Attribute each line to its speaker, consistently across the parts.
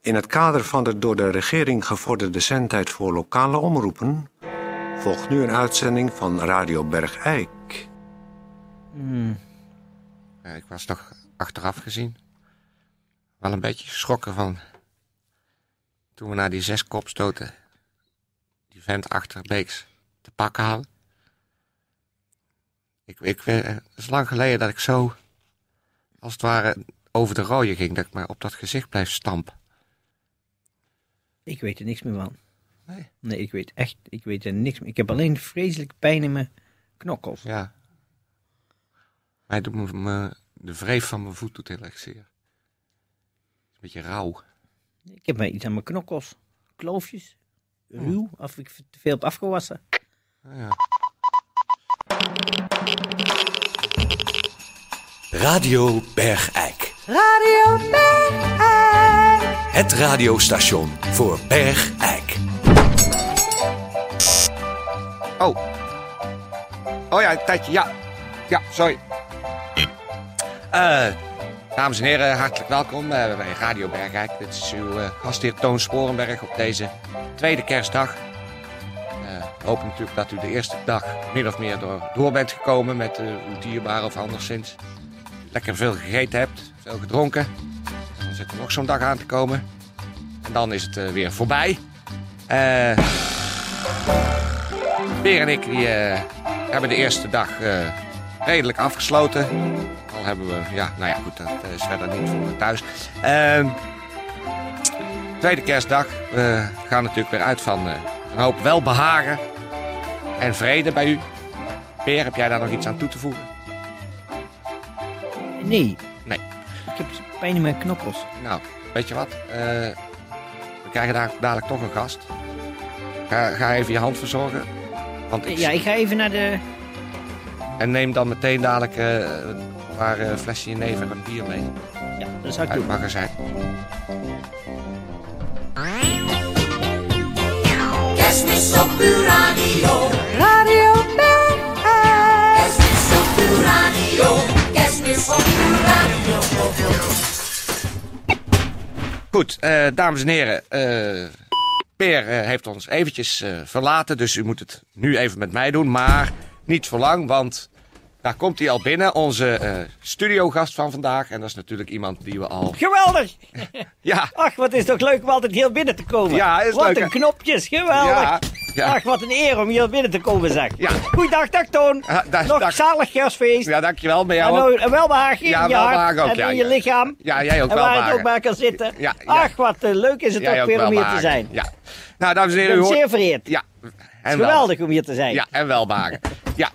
Speaker 1: In het kader van de door de regering gevorderde zendtijd voor lokale omroepen volgt nu een uitzending van Radio Bergijk.
Speaker 2: Ja, Eh, ik was toch achteraf gezien wel een beetje geschrokken van toen we na die zes kopstoten die vent achter Beeks te pakken hadden. Ik, ik, weet- het is lang geleden dat ik zo, als het ware, over de rode ging. Dat ik maar op dat gezicht blijf stampen.
Speaker 3: Ik weet er niks meer van.
Speaker 2: Nee.
Speaker 3: Nee, ik weet echt, ik weet er niks meer. Ik heb alleen vreselijk pijn in mijn knokkels.
Speaker 2: Ja. Hij doet me, me- de wreef van mijn voet doet heel erg zeer. Een beetje rauw.
Speaker 3: Ik heb mij iets aan mijn knokkels. Kloofjes. Ruw. Of ik te veel heb afgewassen.
Speaker 2: Ja.
Speaker 4: Radio Bergijk.
Speaker 5: Radio Bergijk.
Speaker 4: Het radiostation voor Bergijk.
Speaker 2: Oh. Oh ja, een tijdje. Ja. Ja, sorry. Eh, dames en heren, hartelijk welkom eh, bij Radio Bergrijk. Dit is uw eh, gastheer Toon Sporenberg op deze tweede kerstdag. Eh, Ik hoop natuurlijk dat u de eerste dag min of meer door, door bent gekomen met eh, uw dierbaren of anderszins. Lekker veel gegeten hebt, veel gedronken. En dan zit er nog zo'n dag aan te komen. En dan is het eh, weer voorbij. Eh... Peer en ik die, eh, hebben de eerste dag eh, redelijk afgesloten. Al hebben we, ja, nou ja, goed, dat eh, is verder niet voor thuis. Ehm, tweede kerstdag. We gaan natuurlijk weer uit van eh, een hoop welbehagen en vrede bij u. Peer, heb jij daar nog iets aan toe te voegen?
Speaker 3: Nee.
Speaker 2: Nee.
Speaker 3: Ik heb pijn in mijn knokkels.
Speaker 2: Nou, weet je wat? Eh, we krijgen daar dadelijk toch een gast. Ga, ga even je hand verzorgen. Want ik,
Speaker 3: Ja, ik ga even naar de...
Speaker 2: En neem dan meteen dadelijk eh, een paar eh, flesje jenever en bier mee.
Speaker 3: Ja, dat zou
Speaker 2: uit
Speaker 3: ik
Speaker 2: het
Speaker 3: doen.
Speaker 2: magazijn.
Speaker 5: Kerstmis op uw radio. Radio Bergijk. Kerstmis op uw radio. Kerstmis op uw radio.
Speaker 2: Goed, eh, dames en heren. eh, Peer eh, heeft ons eventjes eh, verlaten, dus u moet het nu even met mij doen. Maar niet voor lang, want daar komt hij al binnen. Onze eh, studiogast van vandaag. En dat is natuurlijk iemand die we al...
Speaker 3: Geweldig!
Speaker 2: Ja,
Speaker 3: Ach, wat is toch leuk om altijd heel binnen te komen.
Speaker 2: Ja, is
Speaker 3: wat
Speaker 2: leuk, hè?
Speaker 3: een knopjes, geweldig.
Speaker 2: Ja, ja.
Speaker 3: Ach, wat een eer om hier binnen te komen, zeg.
Speaker 2: Ja.
Speaker 3: Goeiedag, dag Toon.
Speaker 2: Ah, dag,
Speaker 3: Nog
Speaker 2: dag.
Speaker 3: zalig kerstfeest.
Speaker 2: ja dankjewel. Ben jij
Speaker 3: en
Speaker 2: ook?
Speaker 3: nou, een welbehagen in
Speaker 2: Ja,
Speaker 3: je hart
Speaker 2: welbehagen ook,
Speaker 3: en
Speaker 2: ja,
Speaker 3: in je
Speaker 2: ja.
Speaker 3: lichaam.
Speaker 2: Ja, jij ook
Speaker 3: En waar het
Speaker 2: welbehagen.
Speaker 3: ook bij kan zitten.
Speaker 2: Ja, ja.
Speaker 3: Ach, wat eh, leuk is het
Speaker 2: Jij
Speaker 3: ook weer om hier te
Speaker 2: welbehagen.
Speaker 3: zijn.
Speaker 2: Ja. Nou, dames en
Speaker 3: Ik
Speaker 2: heren, u
Speaker 3: ben
Speaker 2: hoort...
Speaker 3: zeer vereerd.
Speaker 2: Ja, en
Speaker 3: Het is
Speaker 2: wel.
Speaker 3: geweldig om hier te zijn.
Speaker 2: Ja, en welbaren. ja.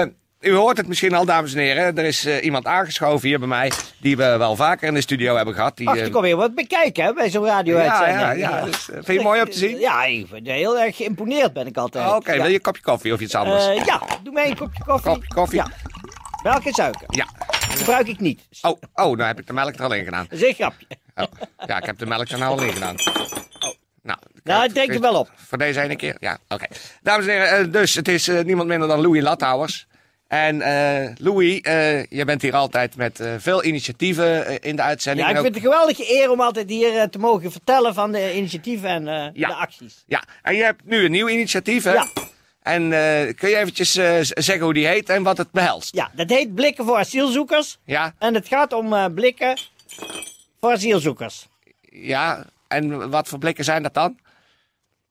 Speaker 2: eh, u hoort het misschien al, dames en heren. Er is eh, iemand aangeschoven hier bij mij. Die we wel vaker in de studio hebben gehad. Die,
Speaker 3: Ach,
Speaker 2: eh,
Speaker 3: er komt weer wat bekijken hè, bij zo'n
Speaker 2: ja,
Speaker 3: radio-uitzending.
Speaker 2: ja, ja. Dus, eh, vind je het mooi om te zien? Oh,
Speaker 3: Ja, ik ben heel erg geïmponeerd ben ik altijd.
Speaker 2: Oké,
Speaker 3: ja.
Speaker 2: wil je een kopje koffie of iets anders?
Speaker 3: Eh, ja, doe mij een kopje koffie.
Speaker 2: Kopje koffie.
Speaker 3: Ja. Welke suiker?
Speaker 2: ja.
Speaker 3: Gebruik ik niet.
Speaker 2: Oh, oh, nou heb ik de melk er al in gedaan.
Speaker 3: Dat is een grapje.
Speaker 2: Oh, Ja, ik heb de melk er nou al in gedaan. Nou,
Speaker 3: Nou, het drinkt er wel op.
Speaker 2: Voor deze ene keer? Ja, oké. Dames en heren, eh, dus het is eh, niemand minder dan Louis Lathouwers. En eh, Louis, eh je bent hier altijd met eh, veel initiatieven eh, in de uitzending.
Speaker 3: Ja, ik
Speaker 2: En ook-
Speaker 3: vind het een geweldige eer om altijd hier eh, te mogen vertellen van de initiatieven en eh,
Speaker 2: Ja.
Speaker 3: de acties.
Speaker 2: Ja, en je hebt nu een nieuw initiatief, hè?
Speaker 3: Ja.
Speaker 2: En eh, kun je eventjes eh, z- zeggen hoe die heet en wat het behelst?
Speaker 3: Ja, dat heet Blikken voor Asielzoekers.
Speaker 2: Ja,
Speaker 3: En het gaat om eh, blikken voor asielzoekers.
Speaker 2: ja. En wat voor blikken zijn dat dan?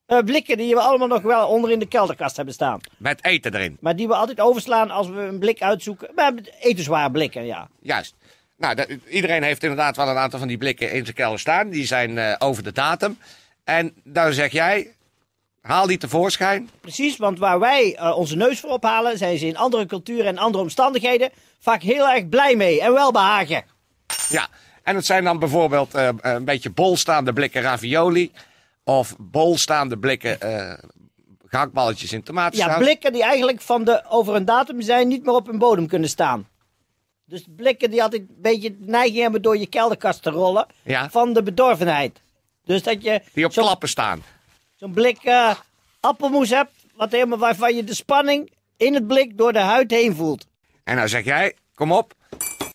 Speaker 3: Eh, blikken die we allemaal nog wel onder in de kelderkast hebben staan.
Speaker 2: Met eten erin,
Speaker 3: Maar die we altijd overslaan als we een blik uitzoeken. Maar etensware blikken, ja.
Speaker 2: juist. Nou, dat- iedereen heeft inderdaad wel een aantal van die blikken in zijn kelder staan. Die zijn eh, over de datum. En dan zeg jij, haal die tevoorschijn.
Speaker 3: Precies, want waar wij eh, onze neus voor ophalen, zijn ze in andere culturen en andere omstandigheden vaak heel erg blij mee en welbehagen.
Speaker 2: Ja, en dat zijn dan bijvoorbeeld eh, een beetje bolstaande blikken ravioli. Of bolstaande blikken eh gehaktballetjes in tomatensaus.
Speaker 3: Ja, blikken die eigenlijk van de over een datum zijn, niet meer op hun bodem kunnen staan. Dus blikken die altijd een beetje de neiging hebben door je kelderkast te rollen.
Speaker 2: Ja.
Speaker 3: Van de bedorvenheid. Dus dat je
Speaker 2: Die op
Speaker 3: zo'n
Speaker 2: klappen staan.
Speaker 3: zo'n blik eh, appelmoes hebt, wat helemaal, waarvan je de spanning in het blik door de huid heen voelt.
Speaker 2: En nou zeg jij, kom op,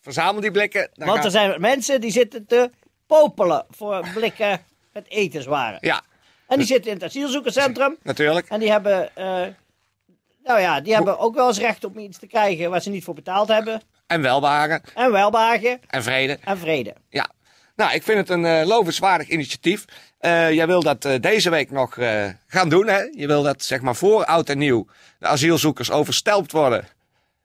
Speaker 2: verzamel die blikken. Dan
Speaker 3: Want
Speaker 2: gaan-
Speaker 3: er zijn mensen die zitten te popelen voor blikken met etens waren.
Speaker 2: Ja,
Speaker 3: En die zitten in het asielzoekerscentrum.
Speaker 2: natuurlijk.
Speaker 3: En die hebben, eh, nou ja, die hebben ook wel eens recht om iets te krijgen waar ze niet voor betaald hebben.
Speaker 2: En welbehagen
Speaker 3: En welbehagen
Speaker 2: en vrede.
Speaker 3: en vrede.
Speaker 2: Ja. Nou, ik vind het een eh lovenswaardig initiatief. Eh, jij wil dat eh, deze week nog eh, gaan doen, hè? Je wil dat, zeg maar, voor oud en nieuw de asielzoekers overstelpt worden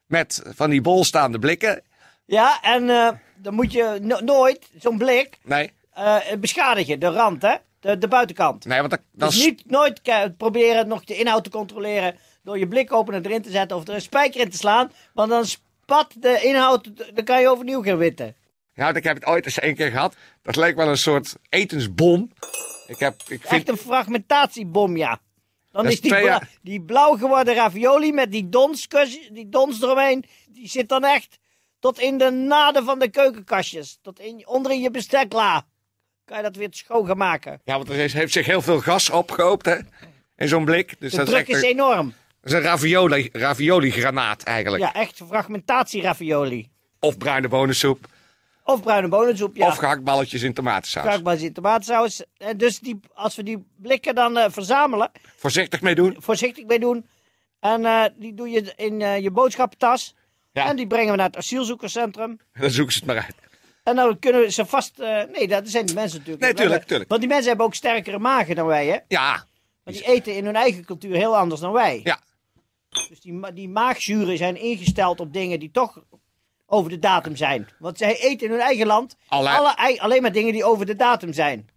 Speaker 2: met van die bolstaande blikken.
Speaker 3: Ja, en eh, dan moet je no- nooit zo'n blik
Speaker 2: Nee,
Speaker 3: eh, beschadigen, de rand, hè? De, de buitenkant.
Speaker 2: nee, want dat, dat
Speaker 3: Dus
Speaker 2: is...
Speaker 3: niet nooit ke- proberen nog de inhoud te controleren door je blikopener erin te zetten of er een spijker in te slaan. Want dan spat de inhoud, dan kan je overnieuw gaan witten.
Speaker 2: Nou, ik heb het ooit eens één keer gehad. Dat leek wel een soort etensbom. Ik heb, ik vind...
Speaker 3: Echt een fragmentatiebom, ja. Dan
Speaker 2: Dat
Speaker 3: is,
Speaker 2: is
Speaker 3: die,
Speaker 2: twee
Speaker 3: bla-
Speaker 2: jaar-
Speaker 3: die blauw geworden ravioli met die dons, die dons eromheen, die zit dan echt tot in de naden van de keukenkastjes. Tot in, onder in je bestekla. Kan je dat weer schoon gaan maken.
Speaker 2: Ja, want er is, heeft zich heel veel gas opgehoopt, hè? In zo'n blik. Dus
Speaker 3: De
Speaker 2: dat is
Speaker 3: druk
Speaker 2: echt
Speaker 3: is
Speaker 2: een,
Speaker 3: enorm.
Speaker 2: dat is een ravioli, ravioli-granaat eigenlijk.
Speaker 3: Ja, echt fragmentatie ravioli.
Speaker 2: Of bruine bonensoep.
Speaker 3: Of bruine bonensoep, ja.
Speaker 2: Of gehaktballetjes in tomatensaus.
Speaker 3: Krakbaar zit tomatensaus. En dus die, als we die blikken dan eh, verzamelen,
Speaker 2: Voorzichtig mee doen.
Speaker 3: voorzichtig mee doen. En eh, die doe je in eh, je boodschappentas.
Speaker 2: Ja.
Speaker 3: En die brengen we naar het asielzoekerscentrum.
Speaker 2: Dan zoeken ze het maar uit.
Speaker 3: En dan kunnen we ze vast... eh, nee, dat zijn die mensen natuurlijk
Speaker 2: Nee,
Speaker 3: niet.
Speaker 2: tuurlijk, tuurlijk.
Speaker 3: Want die mensen hebben ook sterkere magen dan wij, hè.
Speaker 2: Ja,
Speaker 3: Want die eten in hun eigen cultuur heel anders dan wij.
Speaker 2: ja.
Speaker 3: Dus die, ma- die maagzuren zijn ingesteld op dingen die toch over de datum zijn. Want zij eten in hun eigen land
Speaker 2: Alle-
Speaker 3: alle ei- alleen maar dingen die over de datum zijn.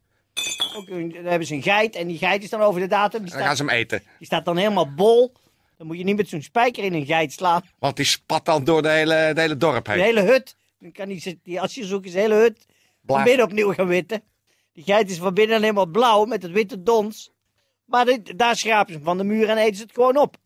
Speaker 3: Ook hun- dan hebben ze een geit en die geit is dan over de datum. Die
Speaker 2: Dan gaan
Speaker 3: staat,
Speaker 2: ze hem eten.
Speaker 3: die staat dan helemaal bol. Dan moet je niet met zo'n spijker in een geit slaan.
Speaker 2: Want die spat dan door de hele, het hele dorp
Speaker 3: De
Speaker 2: heen.
Speaker 3: hele hut. Dan kan die, die asielzoekers de hele hut van
Speaker 2: Blaas.
Speaker 3: binnen opnieuw gaan witten. Die geit is van binnen helemaal blauw met het witte dons. Maar dit- daar schrapen ze hem van de muur en eten ze het gewoon op.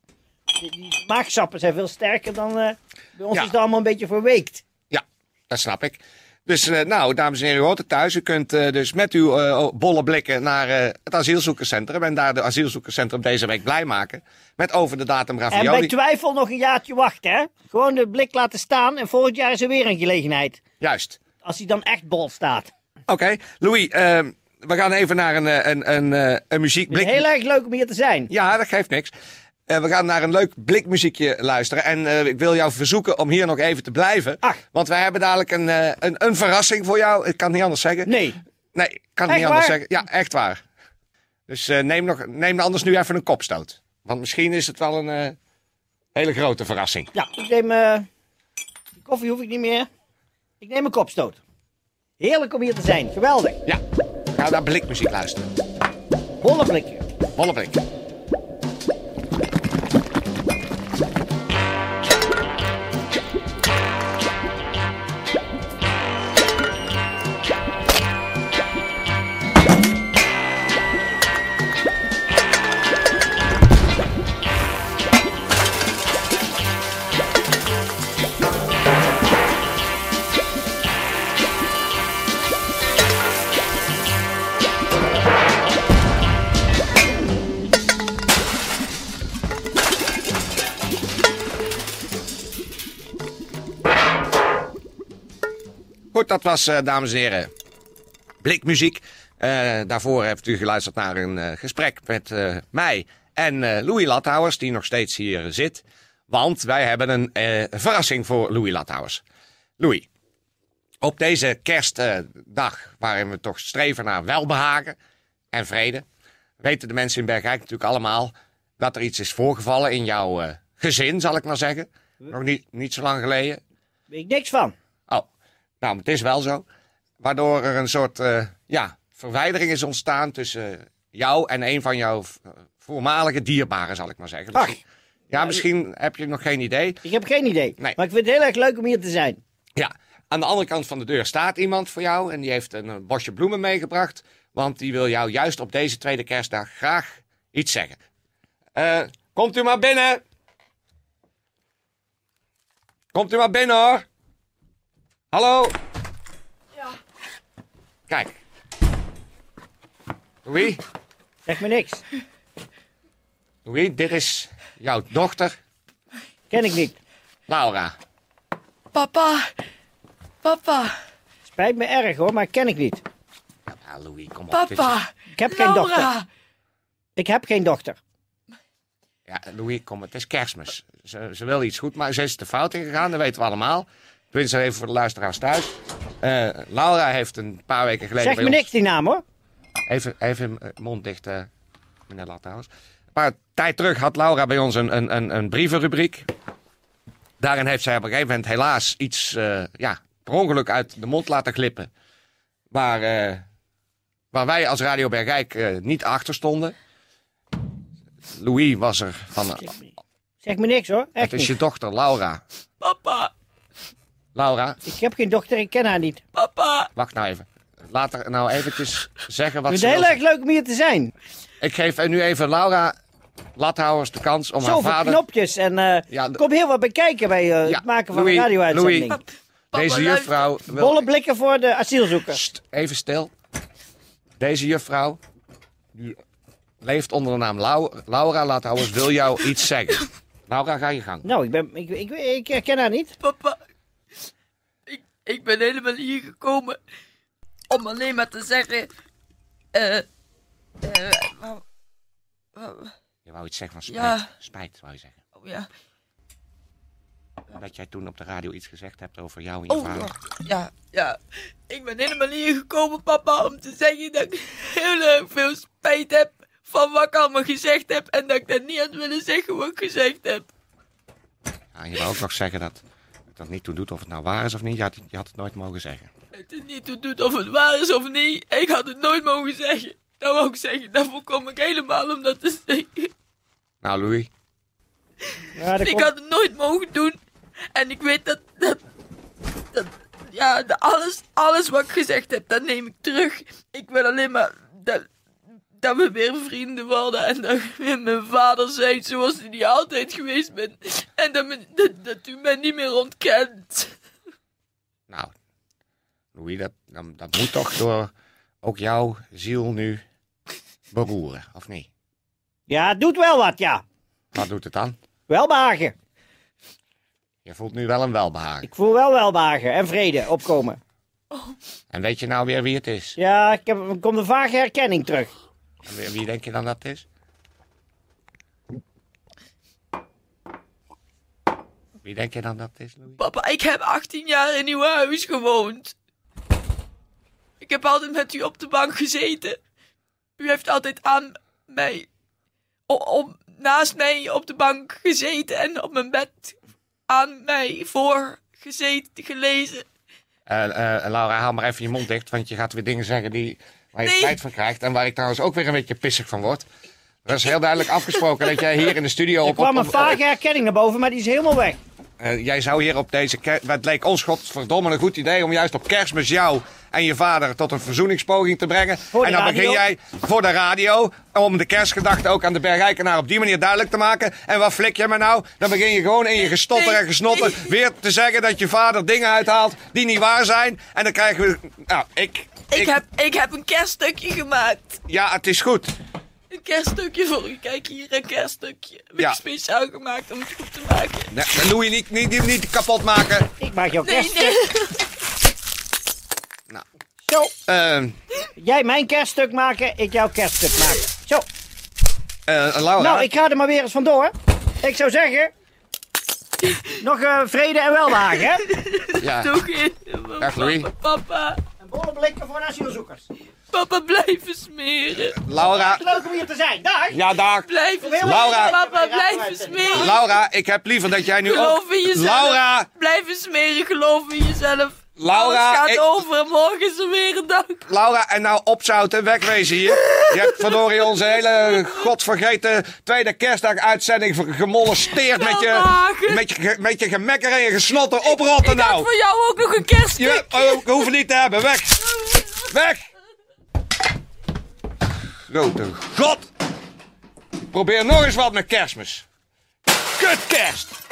Speaker 3: Die, die maagsappen zijn veel sterker dan... eh, bij ons
Speaker 2: Ja.
Speaker 3: is het allemaal een beetje verweekt.
Speaker 2: Ja, dat snap ik. Dus eh, nou, dames en heren, u hoort het thuis. U kunt eh, dus met uw eh, bolle blikken naar eh, het asielzoekerscentrum. En daar de asielzoekerscentrum deze week blij maken. Met over de datum
Speaker 3: En bij
Speaker 2: ravioli.
Speaker 3: twijfel nog een jaartje wachten, hè? Gewoon de blik laten staan en volgend jaar is er weer een gelegenheid.
Speaker 2: Juist.
Speaker 3: Als hij dan echt bol staat.
Speaker 2: Oké, Louis, eh, we gaan even naar een, eh, een, een, eh, een
Speaker 3: Het is
Speaker 2: muziekblik.
Speaker 3: heel erg leuk om hier te zijn.
Speaker 2: Ja, dat geeft niks. Eh, we gaan naar een leuk blikmuziekje luisteren. En eh, ik wil jou verzoeken om hier nog even te blijven.
Speaker 3: Ach.
Speaker 2: Want wij hebben dadelijk een, eh, een, een verrassing voor jou. Ik kan het niet anders zeggen.
Speaker 3: Nee.
Speaker 2: Nee, ik kan het
Speaker 3: Echt
Speaker 2: niet anders
Speaker 3: waar?
Speaker 2: zeggen. Ja, echt waar. Dus eh, neem, nog, neem anders nu even een kopstoot. Want misschien is het wel een eh, hele grote verrassing.
Speaker 3: Ja, ik neem... eh, die koffie hoef ik niet meer. Ik neem een kopstoot. Heerlijk om hier te zijn. Geweldig.
Speaker 2: Ja, ga naar blikmuziek luisteren.
Speaker 3: Holle blikken.
Speaker 2: Volle blik. Goed, dat was, eh, dames en heren, blikmuziek. Eh, daarvoor hebt u geluisterd naar een eh, gesprek met eh, mij en eh, Louis Lathouwers, die nog steeds hier eh, zit. Want wij hebben een eh, verrassing voor Louis Lathouwers. Louis, op deze kerstdag, eh, waarin we toch streven naar welbehagen en vrede, weten de mensen in Bergijk natuurlijk allemaal dat er iets is voorgevallen in jouw eh, gezin, zal ik maar zeggen. Nog niet, niet zo lang geleden.
Speaker 3: Weet ik niks van.
Speaker 2: Oh, nou, maar het is wel zo. Waardoor er een soort eh, ja, verwijdering is ontstaan tussen jou en een van jouw v- voormalige dierbaren, zal ik maar zeggen.
Speaker 3: Ach.
Speaker 2: Dus- ja, misschien heb je nog geen idee.
Speaker 3: Ik heb geen idee.
Speaker 2: Nee.
Speaker 3: Maar ik vind het heel erg leuk om hier te zijn.
Speaker 2: Ja, aan de andere kant van de deur staat iemand voor jou en die heeft een eh, bosje bloemen meegebracht. Want die wil jou juist op deze tweede kerstdag graag iets zeggen. Eh, komt u maar binnen. Komt u maar binnen hoor. Hallo. Ja. Kijk. Louis,
Speaker 3: Zeg me niks.
Speaker 2: Louis, dit is jouw dochter,
Speaker 3: Ken ik niet.
Speaker 2: Laura.
Speaker 6: Papa, papa,
Speaker 3: Spijt me erg hoor, maar ken ik niet.
Speaker 2: Ja, Louis, kom op. dit is-
Speaker 6: Papa,
Speaker 3: Ik heb geen dochter.
Speaker 6: Laura.
Speaker 3: Ik heb geen dochter.
Speaker 2: Ja, Louis, kom, het is kerstmis. Ze, ze wil iets goed, maar ze is de fout ingegaan, dat weten we allemaal. Windsor even voor de luisteraars thuis. Eh, Laura heeft een paar weken geleden.
Speaker 3: Zeg
Speaker 2: bij
Speaker 3: me
Speaker 2: ons-
Speaker 3: niks die naam hoor.
Speaker 2: Even, even eh, mond dicht, eh meneer Lathuis. Een paar tijd terug had Laura bij ons een, een, een, een brievenrubriek. Daarin heeft zij op een gegeven moment helaas iets eh, ja, per ongeluk uit de mond laten glippen. Waar, eh, waar wij als Radio Bergijk eh, niet achter stonden. Louis was er van.
Speaker 3: Zeg me niks hoor. Echt
Speaker 2: Het is
Speaker 3: niet.
Speaker 2: je dochter, Laura.
Speaker 6: Papa,
Speaker 2: Laura,
Speaker 3: Ik heb geen dochter, ik ken haar niet.
Speaker 6: papa.
Speaker 2: wacht nou even. Laat haar nou eventjes zeggen wat
Speaker 3: Het
Speaker 2: ze
Speaker 3: is
Speaker 2: wil
Speaker 3: heel erg
Speaker 2: zeggen.
Speaker 3: leuk om hier te zijn.
Speaker 2: Ik geef nu even Laura Lathouwers de kans om haar
Speaker 3: Zoveel
Speaker 2: vader...
Speaker 3: knopjes en eh,
Speaker 2: Ja, de-
Speaker 3: kom heel wat bekijken bij eh,
Speaker 2: Ja,
Speaker 3: het maken van
Speaker 2: Louis,
Speaker 3: een radio-uitzending.
Speaker 2: Louis. Deze juffrouw wil...
Speaker 3: Bolle blikken voor de asielzoekers.
Speaker 2: Sst, even stil. Deze juffrouw, die leeft onder de naam Lau- Laura Lathouwers, wil jou iets zeggen. Laura, ga je gang.
Speaker 3: Nou, ik, ben, ik, ik, ik herken haar niet.
Speaker 6: Papa, ik, ik ben helemaal hier gekomen om alleen maar te zeggen. eh, eh, wauw, wauw,
Speaker 2: Je wou iets zeggen van spijt.
Speaker 6: Ja.
Speaker 2: Spijt, wou je zeggen.
Speaker 6: oh ja,
Speaker 2: Dat jij toen op de radio iets gezegd hebt over jou en je
Speaker 6: oh
Speaker 2: vader.
Speaker 6: wacht, ja, ja. Ik ben helemaal hier gekomen, papa, om te zeggen dat ik heel erg veel spijt heb van wat ik allemaal gezegd heb en dat ik dat niet had willen zeggen wat ik gezegd heb.
Speaker 2: Ja, en je wou ook nog zeggen dat het dat niet toe doet of het nou waar is of niet. Je had, je had het nooit mogen zeggen.
Speaker 6: Het is niet toe doet of het waar is of niet. Ik had het nooit mogen zeggen. Dat wou ik zeggen. Dat voorkom ik helemaal om dat te zeggen.
Speaker 2: Nou, Louis,
Speaker 3: Ja, dat
Speaker 6: Ik
Speaker 3: komt-
Speaker 6: had het nooit mogen doen. En ik weet dat. dat, dat ja, de- alles, alles wat ik gezegd heb, dat neem ik terug. Ik wil alleen maar dat, dat we weer vrienden worden. En dat ik weer mijn vader zijn zoals hij die altijd geweest bent. En dat, men- dat, dat u mij niet meer ontkent.
Speaker 2: nou, Louis, dat, dat, dat moet toch door ook jouw ziel nu beroeren, of niet?
Speaker 3: ja, het doet wel wat, ja.
Speaker 2: Wat doet het dan?
Speaker 3: Wel behagen.
Speaker 2: Je voelt nu wel een welbehagen.
Speaker 3: Ik voel wel welbehagen en vrede opkomen.
Speaker 2: En weet je nou weer wie het is?
Speaker 3: Ja, ik heb, er komt een vage herkenning terug.
Speaker 2: En wie, wie denk je dan dat het is? Wie denk je dan dat het is, Louis?
Speaker 6: Papa, ik heb 18 jaar in uw huis gewoond. Ik heb altijd met u op de bank gezeten. U heeft altijd aan mij, o- om, naast mij op de bank gezeten en op mijn bed aan mij voor gezeten, gelezen.
Speaker 2: Eh, eh, Laura, haal maar even je mond dicht, want je gaat weer dingen zeggen die, waar je
Speaker 6: Nee.
Speaker 2: spijt van krijgt. En waar ik trouwens ook weer een beetje pissig van word. Er is heel duidelijk afgesproken dat jij hier in de studio op...
Speaker 3: Er kwam
Speaker 2: op-
Speaker 3: een vage herkenning naar boven, maar die is helemaal weg.
Speaker 2: Eh, jij zou hier op deze... ker- Het leek ons godverdomme een goed idee om juist op kerstmis jou en je vader tot een verzoeningspoging te brengen.
Speaker 3: de
Speaker 2: en dan begin
Speaker 3: radio.
Speaker 2: jij voor de radio om de kerstgedachte ook aan de Bergijkenaar op die manier duidelijk te maken. En wat flik je me nou? Dan begin je gewoon in je gestotter
Speaker 6: Nee,
Speaker 2: en gesnotter
Speaker 6: nee.
Speaker 2: weer te zeggen dat je vader dingen uithaalt die niet waar zijn. En dan krijgen we... Nou, ik...
Speaker 6: Ik, heb, ik heb een kerststukje gemaakt.
Speaker 2: Ja, het is goed.
Speaker 6: Een kerststukje voor u. Kijk hier, een kerststukje. Heb
Speaker 2: Ja.
Speaker 6: ik speciaal gemaakt om het goed te maken.
Speaker 2: Nee, dat doe je niet, niet, niet, niet kapot maken.
Speaker 3: Ik maak jouw
Speaker 6: Nee,
Speaker 3: kerst.
Speaker 6: nee.
Speaker 3: Zo,
Speaker 2: Ehm
Speaker 3: jij mijn kerststuk maken, ik jouw kerststuk maken. Zo,
Speaker 2: eh, Laura,
Speaker 3: nou, ik ga er maar weer eens vandoor. Ik zou zeggen... Nog eh, vrede en welbehagen, hè?
Speaker 2: ja,
Speaker 6: Toch in.
Speaker 2: Dag, Louis.
Speaker 6: Papa, papa.
Speaker 3: En bolle blikken voor de asielzoekers.
Speaker 6: Papa, blijven smeren.
Speaker 2: Laura,
Speaker 3: Leuk om hier te zijn. Dag!
Speaker 2: ja daar.
Speaker 6: Blijven smeren.
Speaker 2: Laura.
Speaker 6: Papa, blijven smeren.
Speaker 2: Laura, ik heb liever dat jij nu
Speaker 6: Geloof in jezelf.
Speaker 2: Laura,
Speaker 6: Blijven smeren, geloof in jezelf.
Speaker 2: Laura,
Speaker 6: Alles gaat
Speaker 2: ik-
Speaker 6: over en morgen is er weer een dag.
Speaker 2: Laura, en nou opzouten, wegwezen hier. Je hebt verdorie onze hele godvergeten tweede kerstdag-uitzending ver- gemolesteerd met je,
Speaker 6: Welbehagen.
Speaker 2: met, je, ge- met je gemekker en je gesnotten. Oprotten
Speaker 6: ik had
Speaker 2: nou.
Speaker 6: voor jou ook nog een kerst.
Speaker 2: Je oh, we hoeven niet te hebben. Weg. Weg. Grote god. Probeer nog eens wat met kerstmis. Kut kerst.